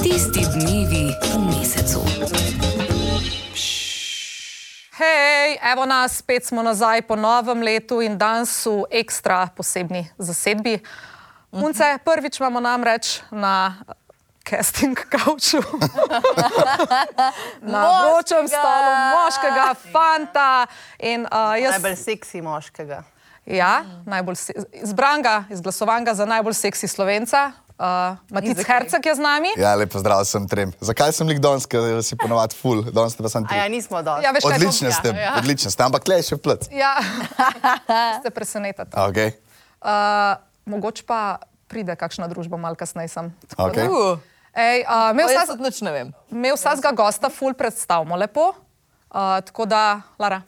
Tisti dnevi v mesecu. Hej, evo nas, spet smo nazaj po novem letu in danes v ekstra posebni zasedbi. Munce, prvič imamo namreč na eh, casting kavču, na vročem stolu moškega fanta in uh, jaz. Najbolj seksi moškega. Ja, najbolj se- izbran ga, izglasovan ga za najbolj seksi slovenca. Uh, Matic Herceg je z nami. Ja, lepo zdrav sem trem. Zakaj sem lik danes, ker si ponovadi full, danes ste pa sem A ja, tri. nismo dobro. Ja, veš kaj? to- Odlično ste, odlično ste, ampak le še plat. Ja, ste presenetili. Okay. Uh, mogoče pa pride kakšna družba malo kasneje. sem. Tako da- Okay. Uh, Ej, uh, imel jaz vsas- tudi nič ne vem. Imel vsakega gosta, ful predstavimo lepo. Uh, tako da, Lara,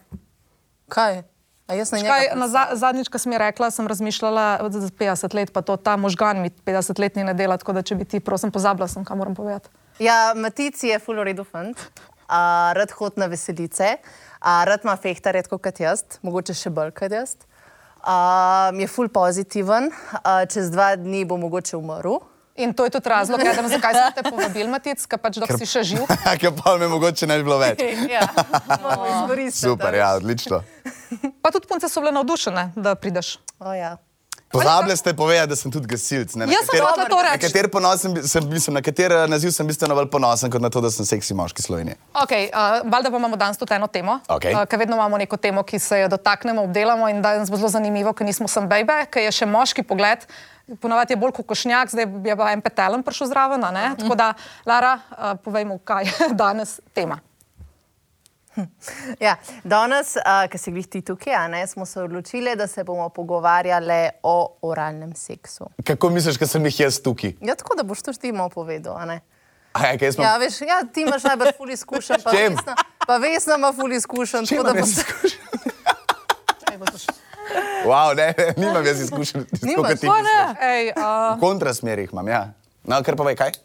Kaj? A jaz ne kaj, no- na za, zadnjič, ko si mi rekla, sem razmišljala, da je 50 let, pa to ta možgan mi 50 let ni ne dela, tako da če bi ti, prosim, pozabila sem, kaj moram povedati. ja Matici je full redu fant, uh, rad hod na veselice, uh, rad ima fehta redko kot jaz, mogoče še bolj kot jaz. Uh, je full pozitiven, uh, čez dva dni bo mogoče umrl. In to je tudi razlog, eden, zakaj sem te povabil, Matic, ker pač dok si še živ. Ker pa me mogoče ne bi bilo več. Ja, No, bomo torej. izkoristili. Super, ja, odlično. Pa tudi punce so bile navdušene, da prideš. Oh, ja. Pozabili ste povedati, da sem tudi gasilc. Ne, na Jaz sem katero- hotela to na reči. kater ponosen bi- sem, mislim, na kater naziv sem bistveno bolj ponosen, kot na to, da sem seksi moški Slovenije. Okay, uh, valjda pa imamo danes tudi eno temo, Okej. ker vedno imamo neko temo, ki se jo dotaknemo, obdelamo in danes bo zelo zanimivo, ker nismo sem bejbe, ker je še moški pogled. Ponavadi je bolj kokošnjak, zdaj je pa en petelen prišel zraven. a ne? Mhm. Tako da, Lara, uh, povejmo, kaj je danes tema. Ja, danes, uh, ki si glih ti tukaj, a ne, smo se odločili, da se bomo pogovarjali o oralnem seksu. Kako misliš, da sem jih jaz tukaj? Ja, tako da boš to ti malo povedal. a ne? Aj, kaj smo? Ja, veš, ja, ti imaš najbolj ful izkušen, pa S čim? vesna, pa vesna ima ful izkušen. Če tako da imam jaz boš- izkušen? wow, ne, ne, nimam jaz izkušen. tako Nimaš? kot ti O, misliš. Ej, uh, V kontrasmerih imam, ja. No, ker povej, kaj?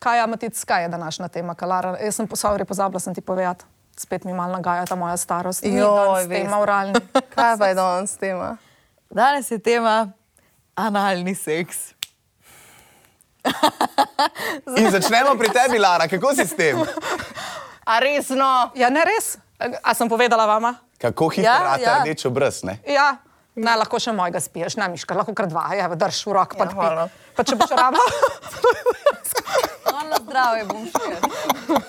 kaj je Matic, kaj je današnja tema, kaj Lara? Jaz sem posavri pozabila, sem ti povedati. Spet mi malo nagaja ta moja starost. Ni Joj, danes veste. tema oralni. Kaj pa je danes tema? Danes je tema analni seks. In začnemo pri tebi, Lara, kako si s tem? A resno? Ja, ne res. A sem povedala vama? Kako hitro Ja, rata ja. rdeč obraz, ne? Ja, ne, lahko še mojega spiješ, ne miška, lahko kar dva, ja, drž v rok, pa, Ja, ja, hvala. pa če boš raba. Na zdravje bom šel.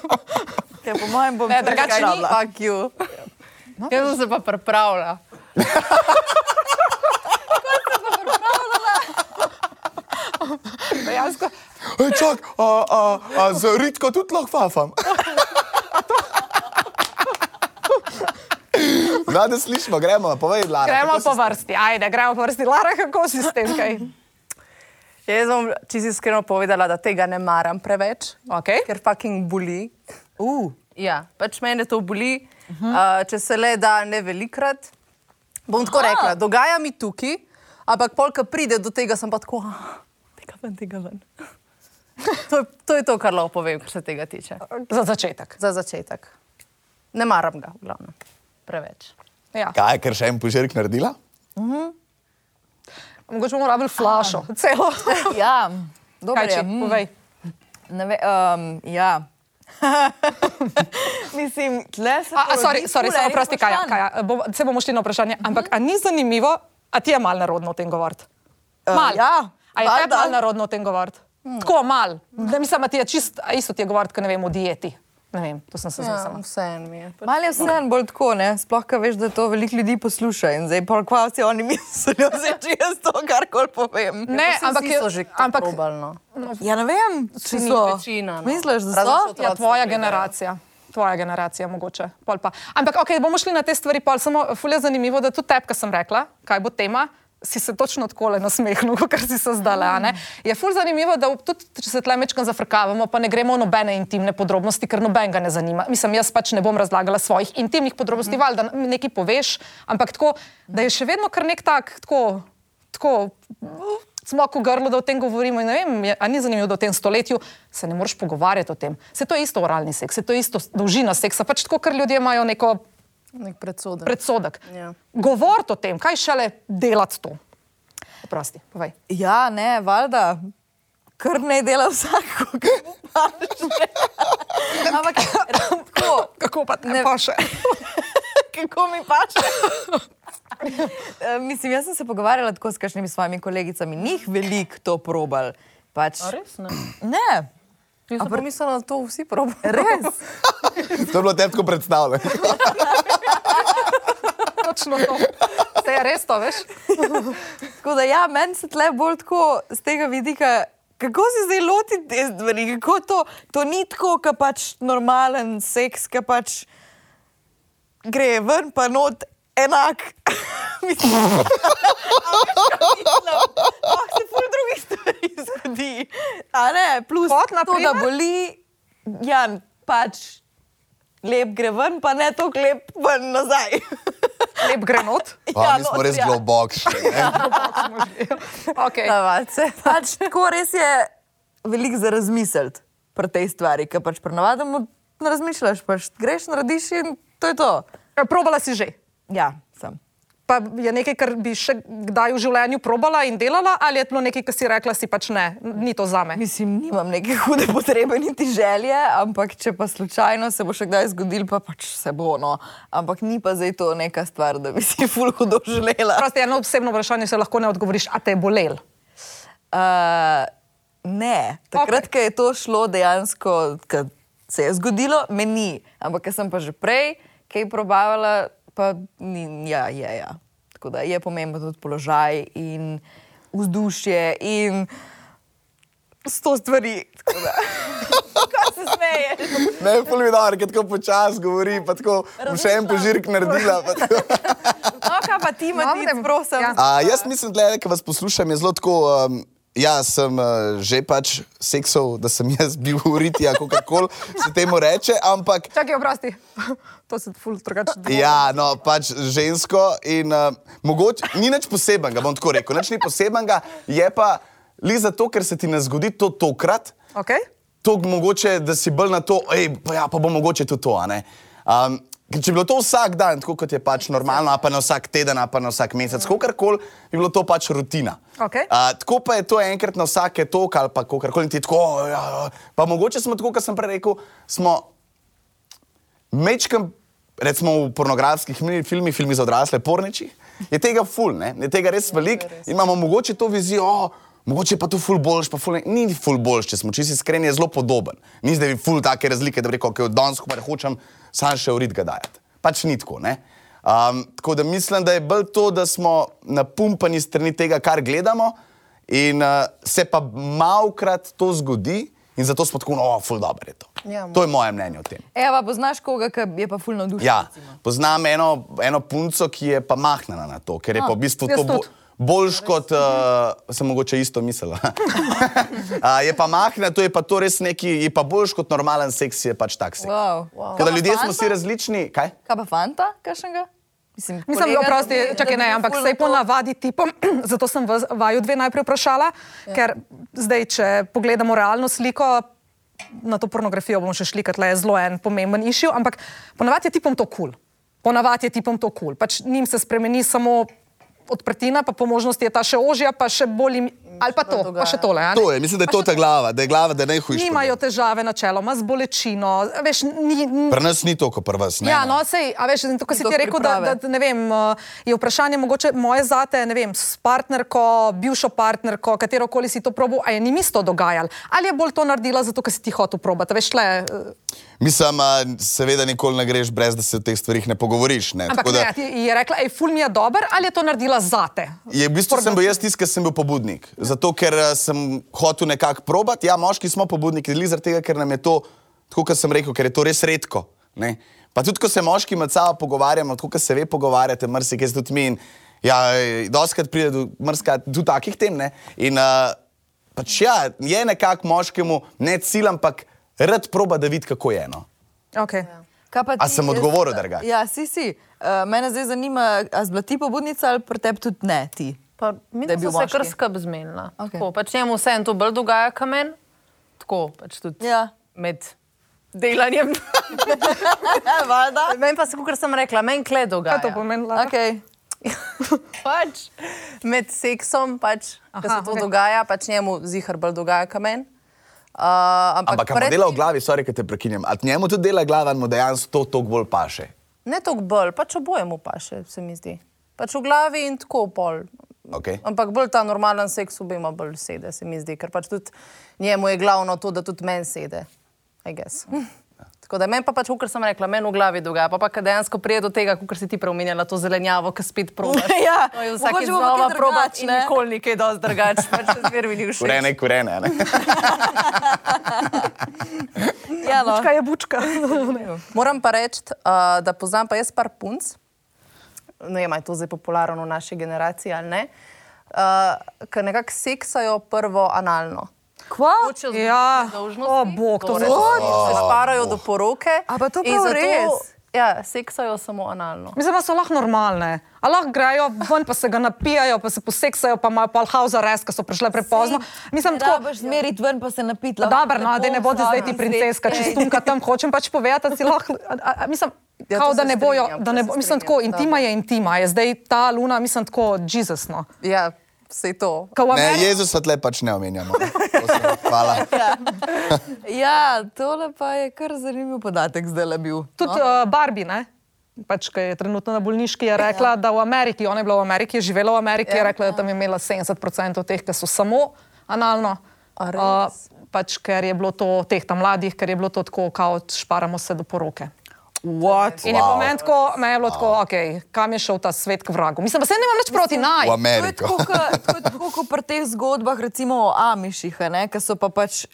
Ja, po mojem bom Ne, drugače ni. no, Fuck you. No. Jaz sem se pa pripravila. Dejansko, Ej, čak, a, a, a z ritko tudi lahko fafam. No, da slišimo, gremo, povej, Lara. gremo kako si po vrsti, ajde, gremo po vrsti. Lara, kako si s tem? Kaj? Jaz bom čisto iskreno povedala, da tega ne maram preveč, Okay. ker fucking boli. Uh, Ja, pač mene to boli, uh -huh. uh, če se le da ne velikrat. Bom tako rekla, dogaja mi tukaj, ampak polka pride do tega, sem pa tako, "Ah, tega ven, tega ven. to, je, to je to, kar lahko povem, kar se tega tiče. Za začetek. Za začetek. Ne maram ga, v glavnem. Preveč. Ja. s- Kaj, ker še en požirk naredila? Mogoče bomo rabili flašo, celo. ja, dobro Kaj če, je. mm, povej. Ne ve, um, ja. Mislim, tle se A, a, porodi sorry, sorry, ful samo enih prosti, kaj, vprašanj. kaj, eh, bo, se bomo šli na vprašanje, Mhm. ampak a ni zanimivo, a ti je mal narodno o tem govoriti? Eh, Mal. ja, a je tebi valjda. mal narodno o tem govoriti? Hmm. Tako mal. Ne mislim, a ti je čist, a isto ti je govoriti, ker ne vem, o dieti. Ne vem, to sem se Ja, zamislila. Vseeno mi je. Mal je vseeno bolj tako, ne? sploh kaj veš, da to veliko ljudi posluša in zdaj pa kva si oni mislijo, zdaj, če jaz to karkoli povem. Ne, ampak je je, to že ampak probalno. Ja, ne vem, če No, ni so. večina, no. Misliš, da Razen so? so to- ja, otroci tvoja gledajo. generacija. Tvoja generacija, mogoče. Pol pa. Ampak, ok, bomo šli na te stvari, pol samo fulje zanimivo, da tudi tebi, ki sem rekla, kaj bo tema. Si se točno tako le nasmehnil, kot si se zdala. Je fulj zanimivo, da v- tudi če se tle mečkam zafrkavamo, pa ne gremo v nobene intimne podrobnosti, ker noben ga ne zanima. Mislim, jaz pač ne bom razlagala svojih intimnih podrobnosti, Mhm. mm. valjda nekaj poveš, ampak tako, da je še vedno kar nek tak, tako, tako smo ko grlo, da o tem govorimo. in Ne vem, je- a ni zanimivo, da v tem stoletju se ne moreš pogovarjati o tem. Se to je isto oralni seks, se to je isto s- dolžina seksa, pač tako, ker ljudje imajo neko Nek predsodek. predsodek. Ja. Govoriti o tem, kaj šele delati to. Prosti, povej. Ja, ne, valjda. kar ne dela vsak, ki mu paše. Ampak tako, Kako pa Ne. ne pa še? kako mi paše. Eh, Mislim, jaz sem se pogovarjala tako s kakšnimi svojimi kolegicami, njih veliko to probal. Pač, Res ne. ne, Jaz sem pomislila, da to vsi probajo. res. To je bilo težko predstavljati. Točno to. Se je res to, veš? Tako da, ja, meni se tle bolj tako z tega vidika, kako se zdaj loti te stvari. kako To, to ni tako, kot pač normalen seks, ki pač gre ven, pa not enak. Mislim, a veš, kaj mislim? Lahko se pol drugih stvari zgodi. A ne, plus Kot na to, primer? da boli, ja, pač lep gre ven, pa ne tako lep ven nazaj. Lep grenot. Ja, mi smo not, res ja. globoki. Okay. Navadce. pač tako res je veliko za razmisliti pri tej stvari, ker pač prenavadimo ne razmišljaš, pač greš, narediš in to je to. Probala si že. Ja, sem. Pa je nekaj, kar bi še kdaj v življenju probala in delala, ali je bilo nekaj, kar si rekla, si pač ne, ni to za me. Mislim, nimam neke hude potrebe niti želje, ampak če pa slučajno se bo še kdaj zgodil, pa pač se bo. No. Ampak ni pa zdaj to neka stvar, da bi si ful hudo želela. Prosti, eno osebno vprašanje se lahko ne odgovoriš, a te je bolel. Uh, ne, takrat, okay. ko je to šlo dejansko, ko se je zgodilo, me ni. Ampak ker sem pa že prej kaj probavala, pa ni, ja, je. Ja. Tako da je pomemben tudi položaj in vzdušje in sto stvari. Tako da- Kaj se smeješ? Ne, fulminor, ki tako počasi govori, pa tako bom še en požirk naredila. pa tako. No, kaj pa ti, Matic, Dobro, prosim. ja. A, jaz mislim, da ker vas poslušam, je zelo tako. Um, Ja, sem uh, že pač seksov, da sem jaz bil uriti, kako koli se temu reče, ampak Čakaj, oprosti. To se ful drugače dogaja. Ja, no, pač žensko in uh, mogoče ni nič posebnega, bom tako rekel. Nič ni posebnega, je pa le zato, ker se ti ne zgodi to tokrat, Okay? to mogoče, da si bolj na to, ej, pa ja, pa bo mogoče tudi to, a ne. Um, ker če bi bilo to vsak dan, tako kot je pač normalno, a pa na vsak teden, a pa na vsak mesec, mm. kakorkoli, bi bilo to pač rutina. Okej. Uh, tako pa je to enkrat na vsake tok ali pa kakorkoli, in ti je tako, "O, ja, ja." pa mogoče smo tako, kot sem prej rekel, smo mečkam, recimo v pornografskih mi- filmih, filmih za odrasle, porničih, je tega ful, ne? Ja, je tega res veliko. Imamo mogoče to vizijo, "O, mogoče pa to ful boljš, pa ful ne. Ni ful boljš, če smo čisto iskreni, je zelo podoben. Ni zdaj ful take razlike, da bi rekel, da danes ko pa hočem, sam še urit ga dajati. Pač ni tako, ne. Um, tako da mislim, da je bolj to, da smo napumpani strani tega, kar gledamo, in uh, se pa malkrat to zgodi, in zato smo tako, no, ful dobro je to. Ja, to je moje mnenje o tem. Eva, poznaš koga, ki je pa fulno dušen? Ja, poznam eno, eno punco, ki je pa mahnjena na to, ker je pa v bistvu jaz to bo, tudi. Ja, boljš kot, uh, sem mogoče isto mislila. uh, je pa mahnjena, to je pa to res neki, je pa boljš kot normalen seks, je pač tak seks. Wow. Wow. Tako da ljudje Kaj pa smo si fanta? različni, kaj? Kaj pa fanta, kakšnega? Mislim, Mislim, kolega, kolega, oprosti, da bi- čakaj, da bi ne, bil ampak ful sej na to- ponavadi tipom, zato sem vas- vaju dve najprej vprašala, ja. ker zdaj, če pogledamo realno sliko, na to pornografijo bomo še šli, ker tule je zelo en pomemben išil, ampak ponavadi je tipom to kul. Cool. Ponavadi je tipom to kul. Cool. Pač njim se spremeni samo odprtina, pa po možnosti je ta še ožja, pa še bolj jim, ali pa to, pa še tole. a ne? To je, mislim, da je to ta glava, da je glava, da je najhujša. Nimajo težave načeloma z bolečino, veš, ni, ni, Pri nas ni to, kot pri vas. Ne? Ja, no, sej, a veš, to, kar si Do ti rekel, da, priprave. da ne vem, eh, je vprašanje mogoče moje zate, ne vem, s partnerko, bivšo partnerko, katero koli si to probal, a je ni isto dogajalo, ali je bolj to naredila zato, ker si ti hotel probati, a veš, le, eh, Ja, Mislim, a, seveda nikoli ne greš brez, da se o teh stvarih ne pogovoriš. Ne? ampak Tako da- ne, ti je rekla, ej, ful mi je dober, ali je to naredila zate. Je, v bistvu sem bil jaz tisti, ki sem bil pobudnik. Zato, ker eh, sem hotel nekako probati. Ja, moški smo pobudniki, le zaradi tega, ker nam je to, tako kot sem rekel, ker je to res redko. Ne? Pa tudi, ko se moški med sabo pogovarjamo, tako kot se ve pogovarjate, mrsikaj se tudi mi. In, ja, eh, doskrat pride do, mrska, do takih tem. Ne? In uh, pač ja, je nekako moškemu, ne cilj, ampak rad proba, da vidi, kako je no. eno. Okay. Kaj pa A ti, sem jaz- odgovoril, dragi? Ja, si si. Uh, mene zdaj zanima, a zbla ti pobudnica ali pri tebi tudi ne ti? Pa, Da je mislim, bil da se moški. kar skrb zmenila. Okej. Okay. Pač njemu vse en to bolj dogaja, kam meni. Tako, pač tudi Ja. med delanjem. Ja, valjda. meni pa se, kot sem rekla, meni kle dogaja. Kaj to pomeni? Lara? Okay. pač med seksom, pač, da se Aha, to okej. okay. dogaja, pač njemu zihar bolj dogaja kamen. Uh, ampak Ampak kar pred dela v tem- glavi, sorry, ker te prekinjam. A njemu tudi dela glava, ali mu dejansko to toliko bolj paše. Ne toliko bolj, pač obojemu pa še, se mi zdi. Pač v glavi in tako pol. Okej. Ampak bolj ta normalen seks obema bolj sede, se mi zdi, ker pač tudi njemu je glavno to, da tudi meni sede. I guess. Ja. Tako da meni pa pač, kot sem rekla, meni v glavi dogaja, pa pa ko dejansko pride do tega, kot si ti preomenjala, to zelenjavo, ki spet proba. Ja, vsak je mogoče bo pa znova kaj proba, drugače, če ne. nikoli ni kaj dosti drugače, pač zmer mi ni všeč. Kurene, kurene. a Ne? Ja, no. Bučka je bučka. Moram pa reči, uh, da poznam pa jaz par punc, ne vem, a je to zdaj popularno v naši generaciji ali ne, uh, ki nekako seksajo prvo analno. Kva? Hočejo Ja, dolžnosti. o bog, to Torej, je. Se sparajo do poroke. A pa to in prav zato- res? Ja, seksajo samo analno. Mislim, da so lahko normalne. A lahko grejo ven, pa se ga napijajo, pa se poseksajo, pa imajo palhauza res, ker so prišle prepozno. Mislim, Tako tako, boš zmeriti ven, pa se napiti. Dobro, no, da ne bodo zdaj ti princeska, če stunka tam hočem pač povedati, da si lahko. a- a- a Mislim, Ja, kao, to da se ne bojo, strinjam, da to ne se bo, mislim tako, strinjam, intima dobro. je intima, je zdaj ta luna, mislim tako, no. jezusno. Ja, vse to. Ne, Jezusa tle pač ne omenjamo. ne. To se- Hvala. Ja, tole pa je kar zanimiv podatek zdaj le bil. Tudi uh, Barbie, ne? Pač, ki je trenutno na bolniški, je rekla, ja. da v Ameriki, ona je bila v Ameriki, je živela v Ameriki, ja. je rekla, da tam je imela 70% teh, ki so samo analno. Eh, A res? pač, ker je bilo to teh tam mladih, ker je bilo to tako, kot šparamo se do poroke. What? In wow. je po meni tako, me je bilo wow. tako, okay, kam je šel ta svet k vragu. Mislim, da se ne imam nič proti naj. V Ameriko. To je tako, ka- to je tako kot pri teh zgodbah, recimo o Amiših, a ne, ki so pa pač,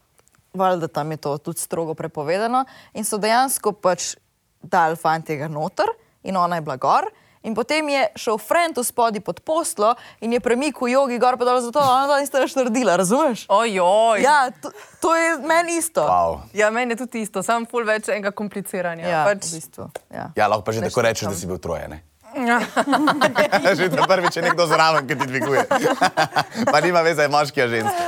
valjda tam je to tudi strogo prepovedano, in so dejansko pač dal fantega noter in ona je bila gor. In potem je šel Frento spodaj pod poslo in je premikal jogi gor pa dol, zato ona to niste več naredila, razumeš? Ojoj. Ja, to, to je meni isto. Wow. ja, meni je tudi isto, samo ful več enega kompliciranja. Ja, pač, v bistvu, ja. Ja, lahko pa že tako rečeš, da si bil trojen. že to prvič je nekdo zraven, ki ti dviguje. pa nima veze, je moški ali ženska.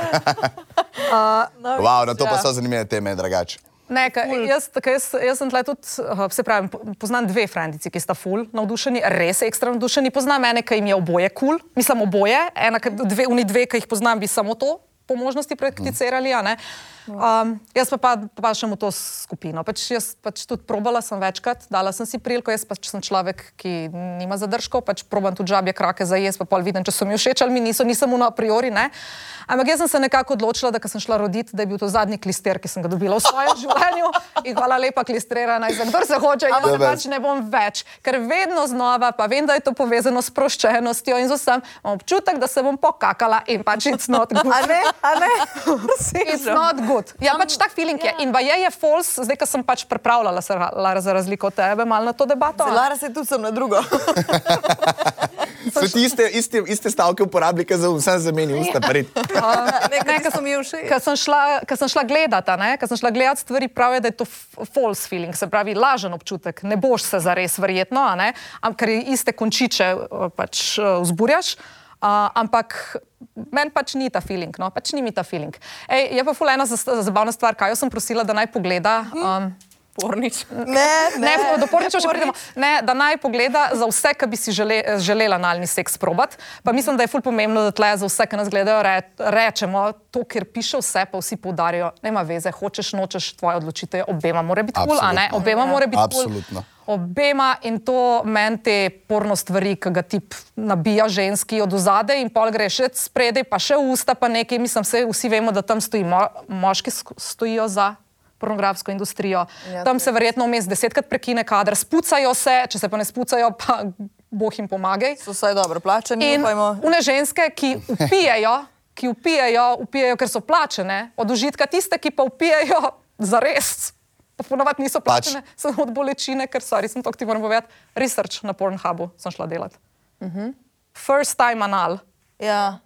Wow, na to pa so zanimive teme, drugače. Ne, ka, jaz, ka, jaz, jaz sem tle tudi, aha, se pravi, po- poznam dve frendici, ki sta full navdušeni, res ekstra navdušeni. Poznam ene, ki jim je oboje kul, cool. mislim oboje, ena, ke- dve, oni dve, ki jih poznam, bi samo to po možnosti prakticirali. a ne. Um, jaz pa, pa pašem v to skupino. Pač jaz pač tudi probala sem večkrat, dala sem si priliko, jaz pač sem človek, ki nima zadržkov, pač probam tudi žabje krake za jaz, pa pol vidim, če so mi všeč ali mi niso, nisem uno a priori. Ne? Ampak jaz sem se nekako odločila, da ko sem šla roditi, da je bil to zadnji klister, ki sem ga dobila v svojem življenju. In hvala lepa, klisterana je za kdo se hoče, jaz se Dober. pač ne bom več. Ker vedno znova, pa vem, da je to povezano s proščenostjo in z vsem, imam občutek, da se bom pokakala in pač it's not good. A ne, a ne? It's not good. Ja, pač tak feeling je. In baje je false, zdaj, ko sem pač pripravljala se, Lara, za razliko od tebe, malo na to debato. a ne. Lara se tudi sem na drugo. So ti iste, iste, iste stavke uporabljike za vse zamenjal, usta prid. Nekaj, kar so mi všeč. Ker sem šla, ker sem šla gledati, a ne, ker sem šla gledati stvari, pravijo, da je to f- false feeling, se pravi lažen občutek. Ne boš se zares, verjetno, a ne, am- ker iste končiče eh, pač eh, vzburjaš. Uh, ampak meni pač ni ta feeling, no, pač ni mi ta feeling. Ej, je pa ful ena zas- zabavna stvar, kaj jo sem prosila, da naj pogleda. Hm? Um, pornič. Ne, Ne, ne do porniča še pridemo. Ne, da naj pogleda za vse, ki bi si žele, želela analni seks probat. Pa mislim, da je ful pomembno, da tle za vse, ki nas gledajo, re, rečemo to, ker piše vse, pa vsi poudarijo, nema veze, hočeš, nočeš, tvoja odločitev je, obema mora biti kul, cool, a ne, Absolutno. obema mora biti kul. Absolutno. Obema in to meni te porno stvari, ki ga ti nabija ženski od ozade in pol gre še spredaj, pa še usta, pa nekaj. Mislim, se, vsi vemo, da tam stoji mo moški sk- stojijo za pornografsko industrijo. Ja, Ja, tam to se verjetno vmes desetkrat prekine kader, spucajo se, če se pa ne spucajo, pa boh jim pomagaj. So vsaj dobro plačani, In upajmo. une ženske, ki upijajo, ki upijajo, upijajo, ker so plačene, od užitka tiste, ki pa upijajo za res. Pa ponovadi niso Pač. plačene, pač. samo od bolečine, ker sorry, sem to, ki ti moram povedati. Research na Pornhubu sem šla delati. Mhm. First time anal, Ja.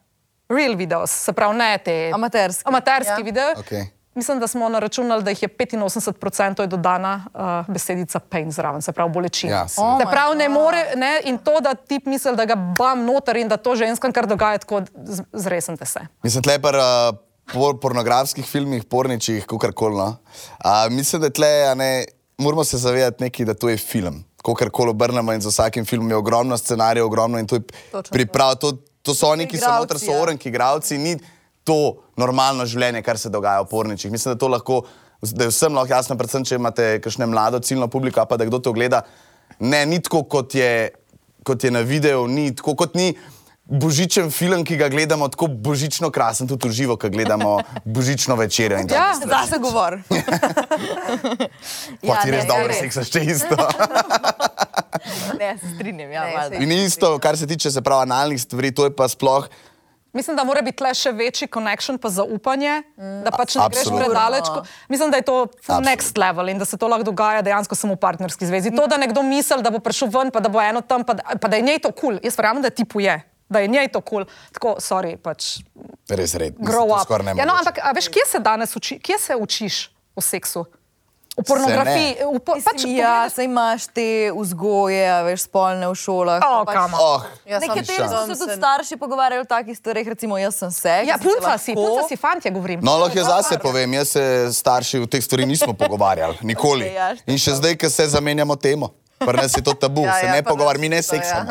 real videos, se pravi ne te Amaterski. amaterski Ja. ja. video. Okej. Mislim, da smo naračunali, da jih je 85% je dodana uh, besedica pain zraven, se pravi bolečina. Ja, seveda. Oh Se my pravi, ne more, ne, in to, da ti misli, da ga bam noter in da to ženskam kar dogaja, tako z- zresnite se. Mislim, tle pa uh, por pornografskih filmih, porničih, kakorkoli. No. Uh, mislim, da tle a ne, moramo se zavedati neki, da to je film. ko kar koli obrnemo in za vsakim filmom je ogromno scenarijev, ogromno in to je Točno priprav. To, to so oni, ki so Igravci, noter, so ja. orenki, igravci, ni to normalno življenje, kar se dogaja v porničih. Mislim, da, to lahko, da je vsem lahko jasno, predvsem, če imate kakšne mlado ciljno publiko, ali pa da kdo to gleda. Ne, ni tako, kot je, kot je na videu, ni tako, kot ni božičen film, ki ga gledamo tako božično krasen, tudi v živo, ki gledamo božično večerjo. in Ja, take stvari. Zase govor. Pa ti res ne, dobro res. seksaš, če isto. Ne, se strinjam, ja, Ne, valjda. saj- In isto, kar se tiče se prav analnih stvari, to je pa sploh. Mislim, da mora biti le še večji connection, pa zaupanje, mm. da pač ne greš Absolutno. predaleč. ko- Mislim, da je to full Absolutno. next level in da se to lahko dogaja dejansko samo v partnerski zvezi. To, da nekdo misli, da bo prišel ven, pa da bo eno tam, pa da, pa da je njej to kul. Cool. Jaz verjamem, da tipu je. Da je njej to kul, cool. tako, sorry, pač Res red. grow up. Skoraj ne ja, no, mogoče. ampak a, veš, kje se danes uči, kje se učiš o seksu? V pornografiji, v po, Mislim, pač ja, saj imaš te vzgoje, a veš, spolne v šolah. O, pa kama. Oh, Ja, sam Nekateri so se šans. tudi starši pogovarjali o takih stvareh, recimo jaz sem se. Ja, punca si, punca si, fantje govorim. no, lahko jaz zase povem, jaz se starši v teh stvari nismo pogovarjali, nikoli. Okej, ja, In še zdaj, ker se zamenjamo temo. Pri nas je to tabu, Ja, se ja, ne pri nas pogovarjamo, mi ne je to, seksamo.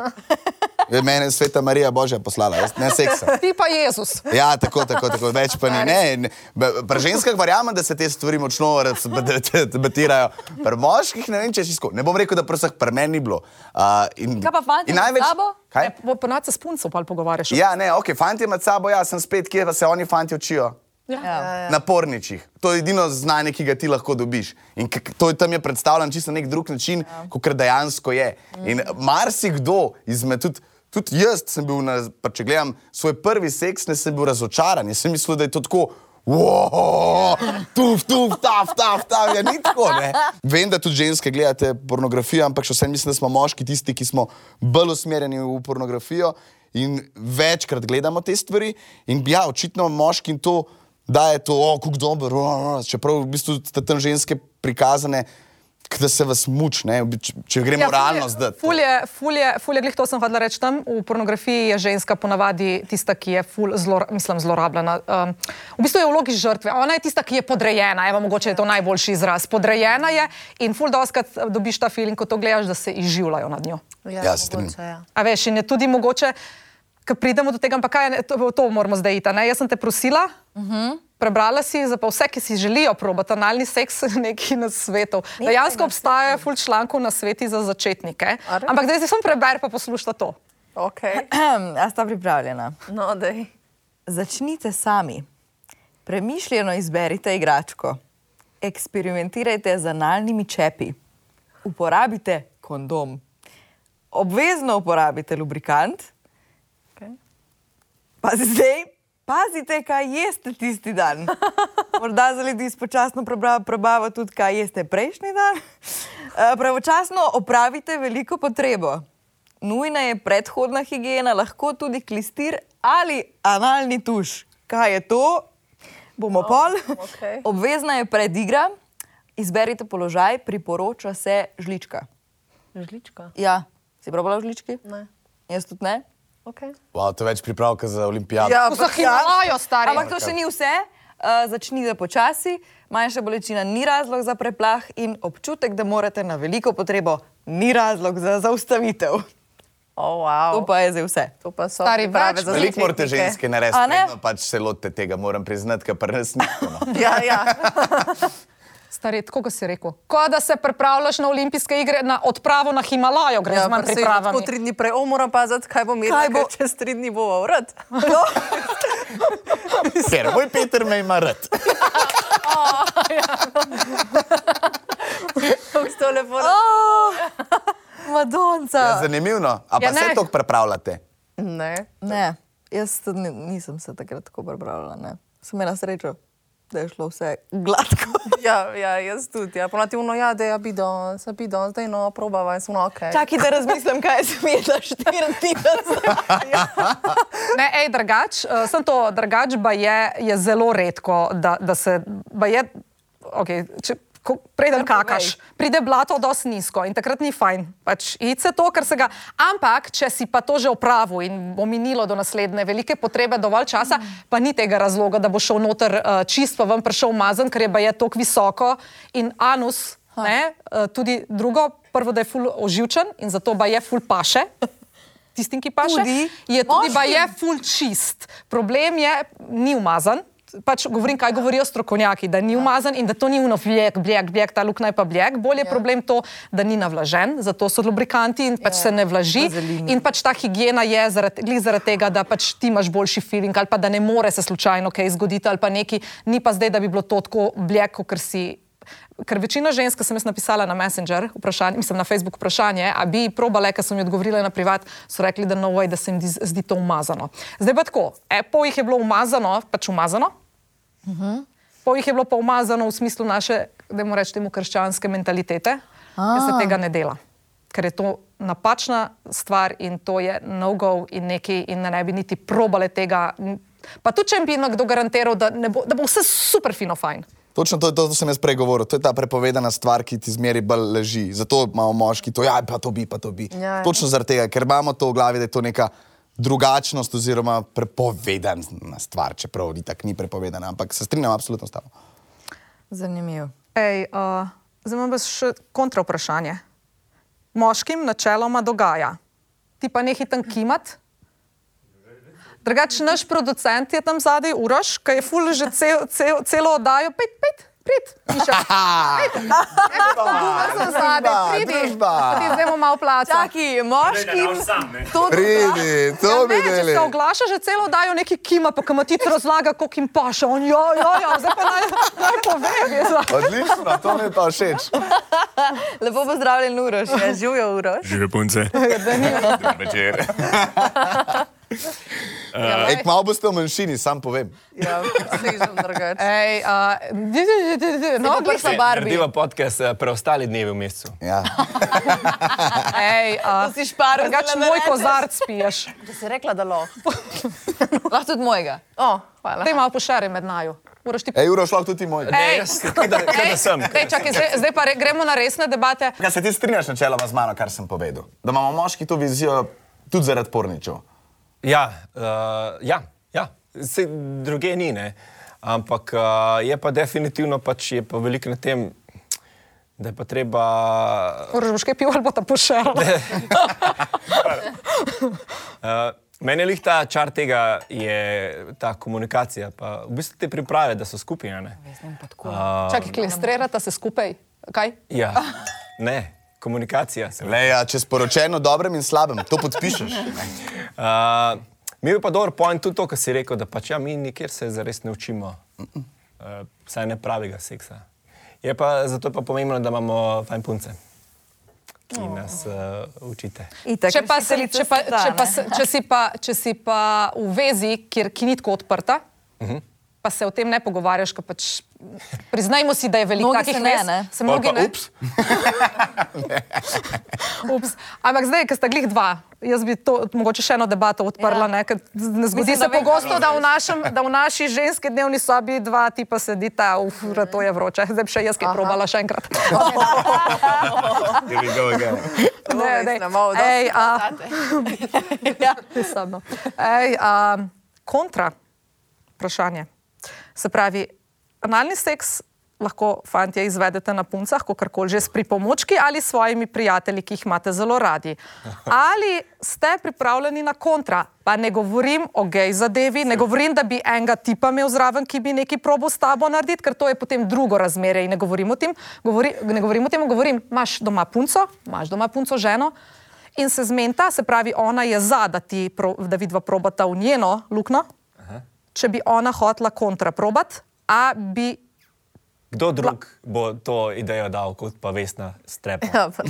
Ja. Mene je sveta Marija Božja poslala, jaz ne seksam. Ti pa Jezus. Ja, tako, tako, tako. več pa ni. Ne, ne. B- Pri ženskah verjamem, da se te stvari močno raz- b- d- d- debatirajo. Pri moških ne vem, če je čisto. tako. Ne bom rekel, da pri vseh pri meni ni bilo. Uh, in, Kaj pa fantje in med največ- sabo? Kaj? Ja, Ponad se s punco pa pogovarjaš. Ja, ne, ok, fanti med sabo, jaz sem spet, kje pa se oni fanti učijo. Ja. Na porničih. To je edino znanje, ki ga ti lahko dobiš. In k- to je tam je predstavljen čisto na nek drug način, ja. kot dejansko je. In marsikdo izmed, tudi, tudi jaz sem bil, na, pa če gledam svoj prvi seks, ne sem bil razočaran. Jaz sem mislil, da je to tako. Wow, tuf, tuf, taf, taf, taf, ja, ni tako. Ne? Vem, da tudi ženske gledate pornografijo, ampak še vsem mislim, da smo moški tisti, ki smo bolj usmerjeni v pornografijo in večkrat gledamo te stvari. In ja, očitno moškim to daje to, o, kako dober, o, o, čeprav v bistvu ste tam ženske prikazane, k- da se vas muči, ne, če- če gremo ja, realno zdaj. Fulje, fulje, fulje, glih to sem hodila reči tam. V pornografiji je ženska ponavadi tista, ki je ful, zlo, mislim, zlorabljena. Um, v bistvu je v vlogi žrtve. Ona je tista, ki je podrejena. Evo, mogoče je to najboljši izraz. Podrejena je in ful doskrat dobiš ta film, ko to gledaš, da se izživljajo nad njo. Ja, se strinjam. mogoče, ja. A veš, in je tudi mogoče, ko pridemo do tega, ampak kaj, je- to, to moramo zdaj iti. a ne? Jaz sem te prosila, uh -huh. prebrala si za pa vse, ki si želijo probati analni seks neki na svetu. Dejansko obstaja full člankov na svetu za začetnike. res? Ampak zdaj si sem preber, pa poslušaj to. Okay. A sta pripravljena? No, dej. Začnite sami. Premišljeno izberite igračko. Eksperimentirajte z analnimi čepi. Uporabite kondom. Obvezno uporabite lubrikant. Okej. Pazi zdaj, pazite, kaj jeste tisti dan. Morda za ljudi spočasno prebra- prebava tudi, kaj jeste prejšnji dan. Eh, Pravočasno opravite veliko potrebo. Nujna je predhodna higiena, lahko tudi klistir ali analni tuš. Kaj je to? Bomo oh, pol. okej. Obvezna je predigra, izberite položaj, priporoča se žlička. Žlička. Ja, si probala v žlički? Ne. Jaz tudi ne. Okay. Wow, to je več pripravka za olimpijado. Ja, Za himalajo, stari. Ampak to še ni vse. Uh, začnite počasi, manjša bolečina ni razlog za preplah in občutek, da morate na veliko potrebo, ni razlog za zaustavitev. Oh, wow. To pa je zdaj vse. To pa so Stari, priprave več za Veliko morate začetnike. ženske narediti, A ne? vedno pač se lotite tega, moram priznati, ker pri nas ni. tako, no. Ja, ja. Stari, tako kot si rekel. Ko da se pripravljaš na olimpijske igre, na odpravo na Himalajo, greš ja, ja manj pa se je tako pripravljen. tri dni prej, o, moram paziti, kaj bom jedel, Kaj bo- ker čez tri dni bo vrat. No, Ker moj Peter me ima rad. Kako se to lepo reče? Oh, Madonca! Ja, zanimivo. A pa Ja, ja, ne. se to pripravljate? Ne. Ne, jaz tudi ni- nisem se takrat tako prebrala. Ne. Sem imela srečo, da je šlo vse gladko. Ja, ja, jaz tudi. Ja. Ponati uno, ja, da je bidon, se bidon, zdaj no, probava in smo no, ok. Čakaj, da razmislim, kaj sem jedla štiri dni nazaj. Ne, ej, drugač, uh, sem to, drugač pa je, je zelo redko, da, da se, ba je, okay, če, ko, preden Kar povej. kakaš, pride blato dosti nizko in takrat ni fajn. Pač, Ice to, kar se ga. Ampak, če si pa to že opravil in bo minilo do naslednje velike potrebe dovolj časa, mm. pa ni tega razloga, da bo šel noter uh, čist, pa vam prišel mazen, ker je pa je tako visoko in anus, ne, uh, eh, tudi drugo prvo, da je ful oživčen in zato ba je ful paše. Tistim, ki paše, Tudi je tudi ba je moškim. ful čist. Problem je, ni umazan. Pač govorim, kaj govorijo strokovnjaki, da Ja. ni umazan in da to ni uno bljek, bljek, bljek, ta luknja je pa bljek. Bolj Ja. je problem to, da ni navlažen, zato so lubrikanti in Ja. pač se ne vlaži. vazelina. In pač ta higiena je zaradi, glih zaradi tega, da pač ti imaš boljši feeling ali pa da ne more se slučajno kaj zgoditi ali pa neki, ni pa zdaj, da bi bilo to tako bljeko, ker si. Ker večina žensk, ki sem jaz napisala na Messenger, vprašanje, mislim na Facebook vprašanje, a bi probale, ker so mi odgovorile na privat, so rekli, da no way, da se jim di- zdi to umazano. Zdaj pa tako, e, pol jih je bilo umazano, pač umazano, pol jih je bilo pa umazano v smislu naše, da mu rečemo, krščanske mentalitete, da se tega ne dela. Ker je to napačna stvar in to je no-go in neki, in ne bi niti probale tega. Pa tudi, če jim bi nekdo garantiral, da, ne bo, da bo vse super fino fajn. Točno to, je to, to sem jaz prej govoril. To je ta prepovedana stvar, ki ti zmeri bolj leži. Zato imamo moški to, ja, pa to bi, pa to bi. Ja, ja. Točno zaradi tega, ker imamo to v glavi, da je to neka drugačnost oziroma prepovedana stvar, čeprav ni tako ni prepovedana, ampak se strinjam absolutno s tabo. Zanimivo. Ej, uh, zdaj imam pa še kontra vprašanje. Moškim načeloma dogaja, ti pa nekaj tam kimat. Drugač, naš producent je tam zadaj, Uroš, ki je ful že cel, cel, celo oddajo, pet, pet, pet, piše. Pogumno sem zadaj, Družba, pridi. družba. Pa Ti zdaj bomo malo plačali. Taki moškim to Pridi, to bi Če delali. se oglaša, že celo dajo neki kima, pa kam ti razlaga, koliko jim paše. On, jo, jo, jo, zdaj pa naj, naj povem. Odlično, to mi je pa všeč. Lepo pozdravljen, Uroš, ja, živijo Uroš. Žive punce. Dober večer. Ek malo boste v manjšini, sam povem. Ja, sežem drugače. Ej, uh, no, glej, Prsa Barbie. Deva podcast eh, preostali dnevi v mesecu. Ja. Ej, a, si šparala, drugače da ne moj rečeš. kozarc piješ. Če si rekla, da lahko. Lahko tudi mojega. O, hvala. Daj malo pošari med naju. Moraš ti Ej, uro šlo tudi ti moj. Ej. Ne, jaz, kaj da, kaj da sem. Dej, čakaj, zdaj, zdaj pa re, gremo na resne debate. Ja, se ti strinjaš načeloma z mano, kar sem povedal? Da imamo moški to vizijo tudi zaradi porničev. Ja, uh, ja, ja. Se, druge ni, ne. ampak uh, je pa definitivno pač je pa veliko na tem, da je pa treba. Moraš boš kaj pil ali bo ta pošarala. Uh, meni je lih ta čar tega, je ta komunikacija, pa v bistvu te priprave, da so skupaj. a Ne? Čakaj, klestrirata se skupaj. Kaj? Ja, ne, komunikacija. seveda. Le, ja, če sporočeno dobrem in slabem, to podpišeš. Uh, mi je pa dober point tudi to, kar si rekel, da pač ja, mi nikjer se zares ne učimo, uh, saj ne pravega seksa. Je pa, zato je pa pomembno, da imamo fajn punce, ki nas uh, učite. Itak, če, pa si, če, pa, če, pa, se- če, si pa, če si pa v vezi, kjer ki ni tako odprta, uh -huh. pa se o tem ne pogovarjaš, ker pač priznajmo si, da je veliko Mnogi takih se ne, vez. ne. Se Pol mnogi pa, ne. ups. Ups. Ampak zdaj, ker sta glih dva, jaz bi to mogoče še eno debato odprla. Ja. Ne, ker ne zgodi Mislim, Mislim, da se vem, pogosto, da v, našem, da v naši ženski dnevni sobi dva tipa sedita, uf, to je vroče. Zdaj bi še jaz kaj probala še enkrat. Here we go again. Ne, ne. Mislim, malo dosti Ej, a, ja, pisano. Ej, a, kontra vprašanje. Se pravi, analni seks lahko fantje izvedete na puncah, kako koli že s pripomočki ali s svojimi prijatelji, ki jih imate zelo radi. Ali ste pripravljeni na kontra? Pa ne govorim o gej zadevi, ne govorim, da bi enega tipa imel zraven, ki bi neki probo s tabo narediti, ker to je potem drugo razmerje in ne govorim o tem. Govori, ne govorim o tem, govorim, imaš doma punco, imaš doma punco ženo, in se zmenta, se pravi, ona je za, da, ti pro, da vidva probata v njeno luknjo. Če bi ona hotla kontraprobat, a bi. Kdo drug bo to idejo dal, kot pa vesna strepa? Ja, pa-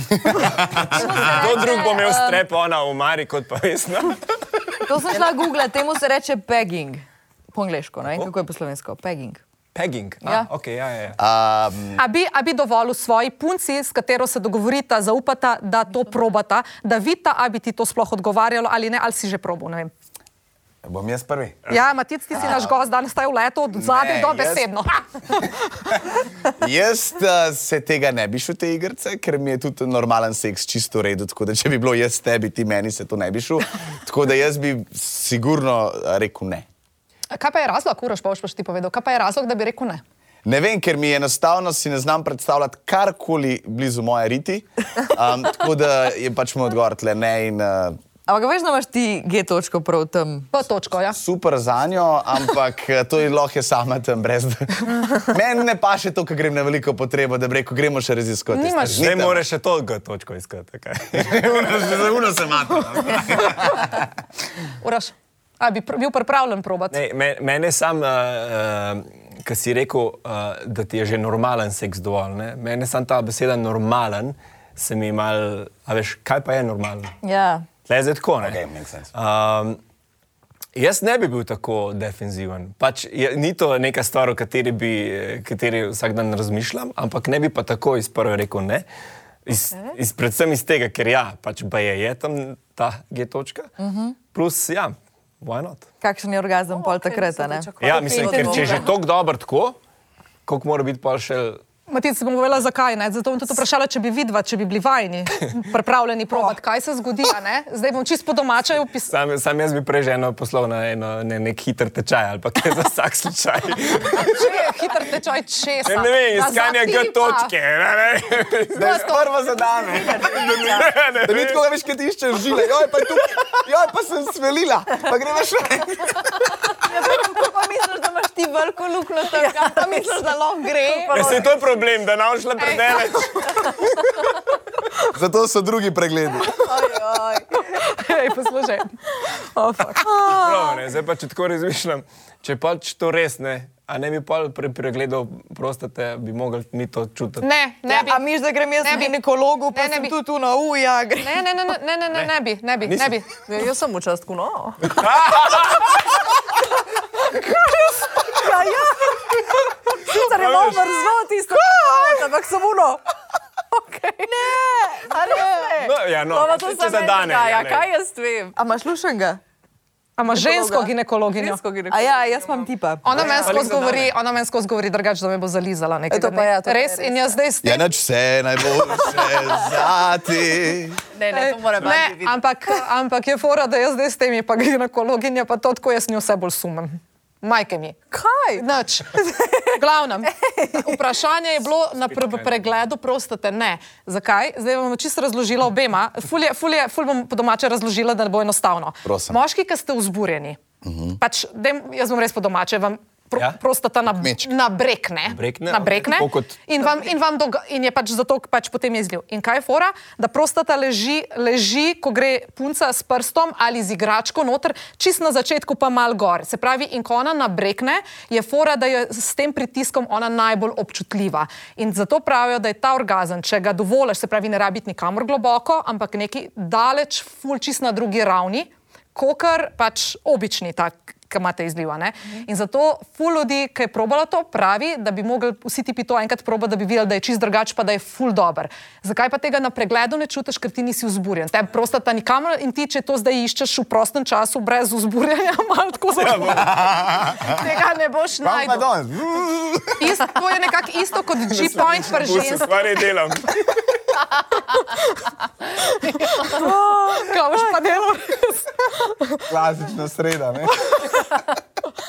Kdo drug bo Um. imel strepa, ona v Mari, kot pa vesna? To sem šla googlati, temu se reče pegging. Po angliško, ne? vem, Kako je po slovensko? Pegging. Pegging. Ja. Ja. Ah, okay, ja, ja, ja. Um, A bi, a bi dovolil svoji punci, s katero se dogovorita, zaupata, da to probata, da vidita, a bi ti to sploh odgovarjalo ali ne, ali si že probo. bom jaz prvi. Ja, Matic, ti si naš gost, danes staj v letu, od zadaj Ne, do jaz- besedno. Jaz uh, se tega ne bi šel, te igrice, ker mi je tudi normalen seks čisto v redu. Tako da, če bi bilo jaz tebi, ti meni se to ne bi šel. Tako da jaz bi sigurno eh, rekel ne. Kaj pa je razlog, Uroš, pa boš pa še ti povedal, kaj pa je razlog, da bi rekel ne? Ne vem, ker mi je enostavno si ne znam predstavljati karkoli blizu moje riti. Um, tako da je pač moj odgovor tle ne in uh, Ampak veš, da imaš ti G točko prav tam. P točko, ja. super za njo, ampak eh, to je lahko je sama tam brez. da- Meni ne paše to, ker grem na veliko potrebo, da bi rekel, gremo še raziskovati. te Nimaš- stvari. Zdaj Ni tam. moraš še to G točko iskati. kaj? Zelo se imate. no. Uraš. A bi pr bil pripravljen probati? Ne, me- Mene sam, uh, uh, ki si rekel, uh, da ti je že normalen seks dovolj, ne? mene sam ta beseda normalen, se mi mal, a veš, kaj pa je normalen? Ja. Tle je zdaj tako, ne? Okay, makes sense. Um, jaz ne bi bil tako defenziven. Pač je, ni to neka stvar, o kateri, bi, eh, kateri vsak dan razmišljam, ampak ne bi pa tako iz prve rekel ne. Iz, iz, predvsem iz tega, ker ja, pač pa je, je tam ta G točka. Uh -huh. Plus, ja, why not? Kakšen je orgazem oh, pol okay, takrat, a ne? Ja, mislim, ker če je že tako dober, tako, koliko mora biti pa še. Matic, bom povedala, zakaj ne. Zato bom tudi vprašala, če bi vidva, če bi bili vajni, pripravljeni probati, kaj se zgodi. a ne? Zdaj bom čisto po domače opisala. Sam, sam jaz bi prej že eno poslal na eno, ne, nek hiter tečaj ali pa kaj za vsak slučaj. Če je hiter tečaj česa. Ne, ne vem, Da iskanje G zatipa. točke. Ne, ne. Da je prva zadame. Da ni tako, da veš, kaj ti iščeš žile. Joj, pa tukaj, joj, pa sem svelila. Pa gremo še. Pa misliš, da imaš ti veliko luknjo tam, ja, pa misliš, da lahko gre. Ja, se je to problem, da nam šla predele. Zato so drugi pregledi. Ej, poslušaj. O, fak. Prav, No, ne, Zdaj pa če tako razmišljam, če pač to res ne, a ne bi pa pri pregledu prostate, bi mogli mi to čutiti. Ne, ne bi. A miš, da grem jaz Ne na bi. ginekologu, pa Ne, ne sem bi. tudi tu na uja. gre. Ne, ne, ne, ne, ne, ne, ne, ne bi, ne bi, ne Nisem. bi. Ja, jaz sem v častku, no. Ja, ja. Sicer je malo mrzlo tisto, ampak samo no. Okay. Ne, a ne. No, ja, no, pa pa če za dane, ja, Ja, ne. kaj jaz vem? A imaš lušenga? Ampak žensko ginekologinjo. Žensko ginekologinjo. A ja, jaz imam tipa. Ona meni skozi zadane. govori, ona meni skozi govori drugače, da me bo zalizala nekaj. to pa ja, to pa je res. In jaz zdaj s Ja, tem. nič vse najboljše zati. Ne, ne, to mora Ne, biti. ampak, ampak je fora, da jaz zdaj s temi pa ginekologinja, pa to tako jaz njo vse bolj sumem. Majke mi. Kaj? Noč. Glavno. Vprašanje je bilo na pre pregledu prostate. Ne. Zakaj? Zdaj bom čisto razložila obema. Ful, je, ful, je, ful bom po domače razložila, da bo enostavno. Prosim. Moški, ki ste vzburjeni, uh -huh. pač, dajm, jaz bom res po domače, vam pro, ja? Ja. prostata na, Mečk. nabrekne. Brekne, nabrekne okej. Tako kot- in, vam, in, vam doga, in je pač zato pač potem je izliv. In kaj je fora, da prostata leži, leži, ko gre punca s prstom ali z igračko noter, čist na začetku pa mal gor. Se pravi, in ko ona nabrekne, je fora, da je s tem pritiskom ona najbolj občutljiva. In zato pravijo, da je ta orgazem, če ga dovoliš, se pravi, ne rabiti nikamor globoko, ampak neki daleč, ful čist na drugi ravni, kokar pač obični tak ki imate izliva. Ne? In zato ful ljudi, ki je probalo to, pravi, da bi mogli vsi ti pito enkrat probati, da bi videli, da je čist drugače, pa da je ful dober. Zakaj pa tega na pregledu ne čutiš, ker ti nisi vzburjen? Te prostata nikamor in ti, če to zdaj iščeš v prostem času, brez vzburjenja, malo tako zelo. Tega ne boš Kam pa najdel. danes? Ist- To je nekako isto kot G-point pri Vse ženskah. stvari delam. Kaj boš pa delal? Klasična sreda, ne?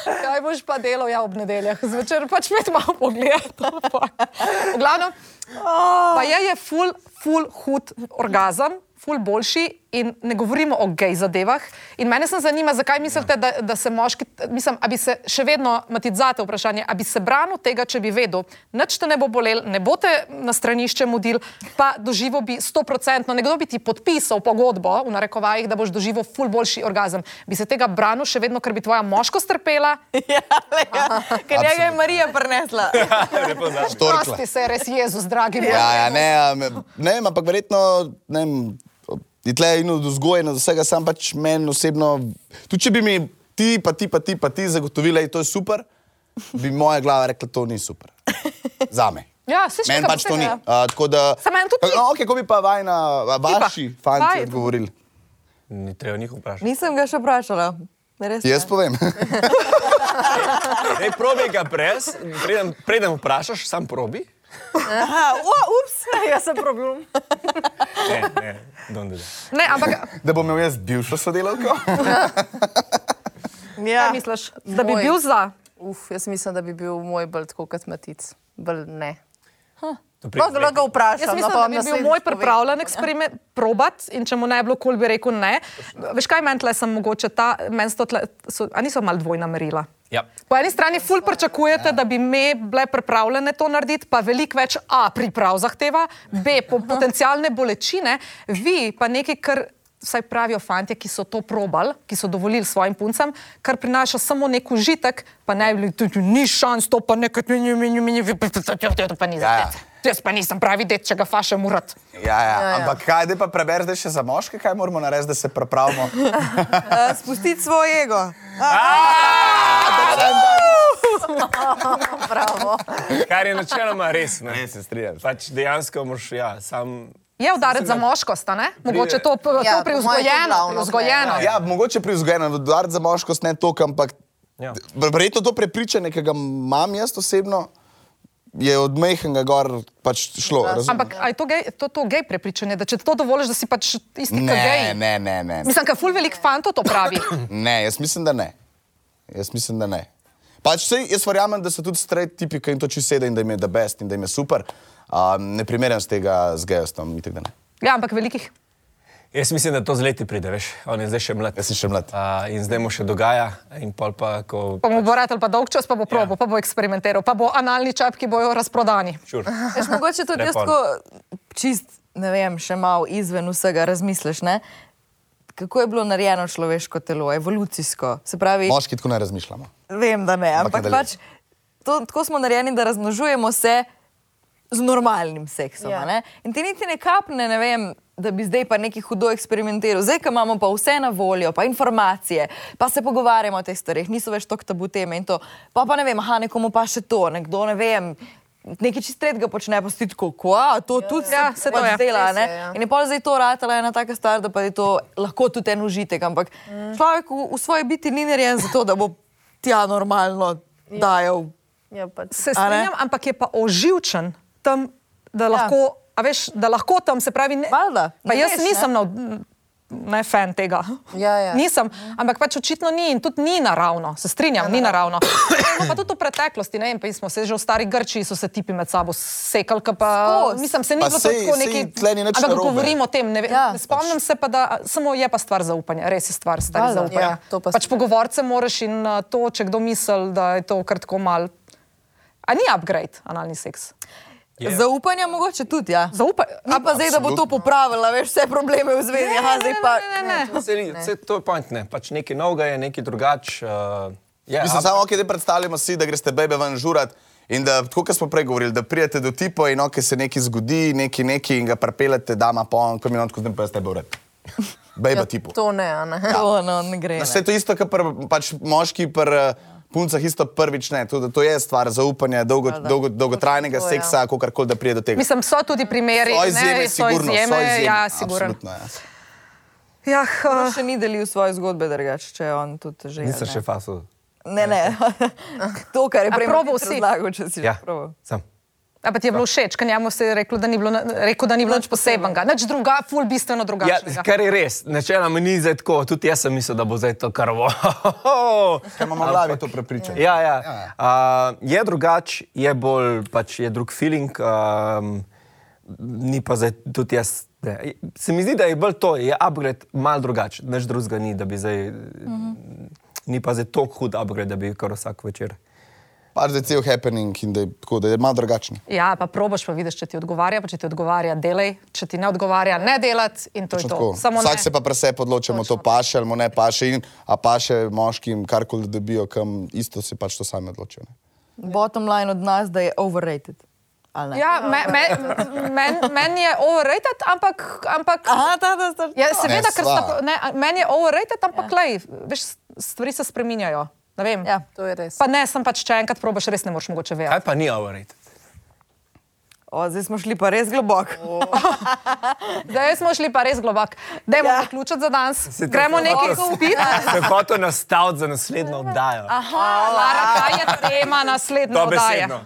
Kaj boš pa delal ja, ob nedeljah? Zvečer pač med malo pogledati. V glavnem, pa je, je ful, ful hud orgazem, ful boljši in ne govorimo o gej zadevah. In mene se zanima, zakaj mislite, da, da se moški, mislim, a bi se še vedno, Matic, zate vprašanje, a bi se branil tega, če bi vedel, nič te ne bo bolel, ne bo te na stranišče mudil, pa doživo bi stoprocentno, nekdo bi ti podpisal pogodbo v narekovajih, da boš doživel ful boljši orgazem. Bi se tega branil še vedno, ker bi tvoja moškost trpela, Ja, le, ja. Ker njega je Absolutno. Marija prinesla. Štorkla. Prosti se je res Jezus, dragi moj. Ja, ja, ne, um, ne vem, ampak verjetno ne vem. Je tle in od vzgoje, in od vsega, sam pač meni osebno. Tudi če bi mi ti, pa ti, pa ti, pa ti zagotovili, da je to super, bi moja glava rekla, to ni super. Za me. Ja, saj še Meni kaj pač to ni. posebnega. Uh, tako da. Saj meni tudi ni. No, okay, ko bi pa vajna, a vaši pa. fanti Vaj. odgovorili. Ni treba njih vprašati. Nisem ga še vprašala. Res ne. Jaz povem. Ne, probi ga brez, preden, preden vprašaš, sam probi. Aha, o, ups, jaz sem problem. Ne, ne, don't do that. Ne, ampak da bom imel jaz bivšo sodelavko. kaj Ja. misliš, da bi bil za? Uf, jaz mislim, da bi bil moj bolj tako kot matic. Bolj ne. To pri- Lahko lahko vprašam. Jaz mislim, no, pa da vam bi bil naslednjič moj povem. pripravljen eksperiment probat in če mu ne bi bilo kul, bi rekel ne. Veš kaj, meni tle sem mogoče ta, meni so tle, so, a niso mal dvojna merila. Ja. Po eni strani ful ja. pričakujete, da bi me bile pripravljene to narediti, pa veliko več A priprav zahteva, B po potencijalne bolečine, vi pa nekaj, kar vsaj pravijo fantje, ki so to probal, ki so dovolili svojim puncem, kar prinaša samo nek užitek, pa ne bi bili tudi ni šans, to pa nekaj, ni, ni, ni, ni, vi pa ni za Ja, ja. tebe. Jaz pa nisem pravi deček, če ga fašem urat. Ja, ja. Ampak kaj, da pa prebereš zdaj še za moške, kaj moramo narediti, da se pripravimo. Uh, spustiti svoj ego. Kar je načeloma res. Ne? Ne, se strinjam. Pač dejansko moraš, ja, sam. Je udarec za moškost, a ne? mogoče to, to Ja, po moje je to privzgojeno. glavno, privzgojeno. Ja, mogoče privzgojeno, dodatek za moškost ne toliko, ampak Ja. ver- verjetno to prepričanje, ki ga imam jaz osebno, je od mehkega gor pač šlo. razumeš? Ampak a je to, gej, to, to gej prepričanje, da če to dovoliš, da si pač isti kot ne, gej? ne, ne, ne. Mislim, da ful velik fantov to pravi. Ne, jaz mislim, da ne. Jaz mislim, da ne. Pač sej, jaz verjamem, da so tudi straight tipi, ki jim to čisto sedi in da jim je da best in da jim je super. Um, ne primerjam z tega z gejostom, itek da ne. Ja, ampak velikih. Jaz mislim, da to z leti pride, veš, on je zdaj še mlad. Jaz sem še mlad. Uh, in zdaj mu še dogaja, in pol pa, ko. Pa mu bo rad ali pa dolg čas, pa bo probo, Ja. ja. pa bo eksperimentiral, pa bo analni čepki bojo razprodani. Sure. Veš, mogoče tudi Lepo. jaz tako čist, ne vem, še malo izven vsega razmisliš. Ne? Kako je bilo narejeno človeško telo, evolucijsko? Se pravi, Moški tako ne razmišljamo. vem, da ne, Ampak ampak nadaljuj. pač to, tako smo narejeni, da razmnožujemo se z normalnim seksom. Ja. Ja. In ti niti ne kapne, ne vem, da bi zdaj pa neki hudo eksperimentiral. Zdaj, ko imamo pa vse na voljo, pa informacije, pa se pogovarjamo o teh stvareh, niso več tako tabu teme in to. Pa pa ne vem, aha, nekomu pa še to, nekdo ne vem. Nekaj čistega počne, pa si ti tako, "Kva, to ja, tudi Ja, se se to pač je. dela. Res je, Ne? ja. In je pa zdaj to ratala ena taka stvar, da pa je to lahko tudi en užitek. Ampak mm. človek v, v svoji biti ni narejen za to, da bo tja normalno dajal. Ja, pač. Se A ne? strinjam, ampak je pa oživčen tam, da lahko, ja. a veš, da lahko tam se pravi. Ne, Valjda, pa ne jaz veš, veš, ne? nisem na. Ne, fan tega. Ja, ja. Nisem, ampak pač očitno ni in tudi ni naravno, se Ja, strinjam, ni naravno. No, pa tudi v preteklosti, ne vem, pa smo se že v stari Grčiji, so se tipi med sabo sekali, ke pa, Skozi. mislim, se ni Pa bilo to sej- tako sej neki. tle ni nič Ampak narobe. govorimo o tem, ne vem. Ja. Ja. Spomnim se pa, da samo je pa stvar zaupanja, res je stvar stari Valjda. zaupanja. Ja, to pa pač se- pogovorce moraš in uh, to, če kdo misli, da je to kar tako mal. A ni upgrade, analni seks. Ja. Yeah. Zaupanja mogoče tudi, ja. Zaupaj. Ni pa zdaj, da bo to popravila, veš, vse probleme v zvezi. Ne, Aha, zdaj pa. Ne, ne, ne. Vse, No, ni- vse to je point, ne. Pač nekaj novega je, nekaj drugače. Uh, ja, Mislim, ab- samo ok, da predstavljamo si, da greš bebe ven žurat. In da, tako kot smo prej govorili, da prijete do tipa in ok, se nekaj zgodi, nekaj, nekaj in ga prepelete, dama pa on, ko mi on tako zdaj pa jaz tebe ured. Bejba ja, tipu. To ne, a ne. To no, ne gre. Vse Ne. to isto, kar pač moški pri eh, puncah isto prvič ne. To, to je stvar zaupanja, dolgo, dolgo, dolgotrajnega to, ja. seksa, ja. kako kar koli da prije do tega. Mislim, so tudi primeri, so ne, izjeme, so sigurno, izjeme, so izjeme. ja, sigurno. absolutno, Ja. Ja, On no, Še ni delil svoje zgodbe, drugače, če je on tudi že. Nisem ne. še fasil. Ne, ne. to, kar je A prej probal Matic si? razlagal, če si Ja, že proval. sam. ampak ti je Ja. bilo všeč, ker njemu se je rekel, da ni bilo, na- rekel, da ni bilo nič posebenega, nič druga, ful bistveno Ja, drugačnega. kar je res, načeloma ni zdaj tako. Tudi jaz sem mislil, da bo zdaj to karvo. Ker imamo v glavi to prepričanje. Ja, ja. Uh, je drugače, je bolj, pač je drug feeling, um, ni pa zdaj tudi jaz. Ne. Se mi zdi, da je bolj to, je upgrade mal drugačen, nič drugega ni, da bi zdaj, mhm. ni pa zdaj tako hud upgrade, da bi kar vsak večer. Pač da je cel happening in da je, tako, da je malo drugačen. Ja, pa probaš, pa vidiš, če ti odgovarja, pa če ti odgovarja, delaj, če ti ne odgovarja, ne delati in to je to. Tako. Samo Vsak ne. se pa prese podločimo, to paše ali mu ne paše, in, a paše moškim, karkoli dobijo, kam isto se pač to sami odločijo. ne. Bottom line od nas, da je overrated. ali ne? Ja, me- me- men- meni je overrated, ampak. ampak Aha, ta, ta, ta, ja, to. seveda, ker sta, sva. pro- ne, a- meni je overrated, ampak ja. lej, veš, stvari se spreminjajo. Ne vem. Ja. To je res. Pa ne, sem pač, če enkrat probaš, res ne moreš mogoče vedeti. Kaj pa ni overrated? O, zdaj smo šli pa res globoko. Zdaj smo šli pa res globok. Dajmo ja. zaključiti za danes. Si to Gremo hotel- nekaj kupiti. Sem hotel nastaviti za naslednjo oddajo. Ah, Aha, Lara, kaj je tema naslednje oddaje? Dobesedno.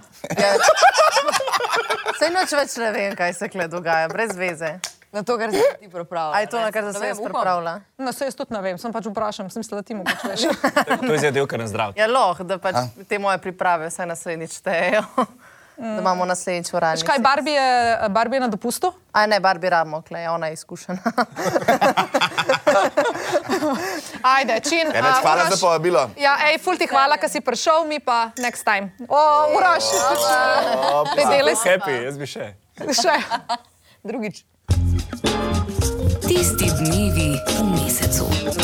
Sej noč več ne vem, kaj se kle dogaja, brez veze. Na to, kar si ti pripravljal. A je to, na kar sem se jaz pripravila? No, se jaz tudi ne vem, sem pač vprašam, sem mislila, da ti mogoče veš. To je zadevka na zdrav. Ja, loh, da pač te moje priprave vsaj naslednjič štejejo. Da imamo naslednjič v Veš Rani. kaj, Barbie je, Barbie je na dopustu? A ne, Barbi Ramokle, ona je izkušena. Ajde, čin. Enec, a, hvala Uroš. za povabilo. Ja, ej, ful ti hvala, ker si prišel, mi pa next time. O, Uroš, ne delaj se Happy, jaz bi še. še. Drugič. Tisti dnevi v mesecu.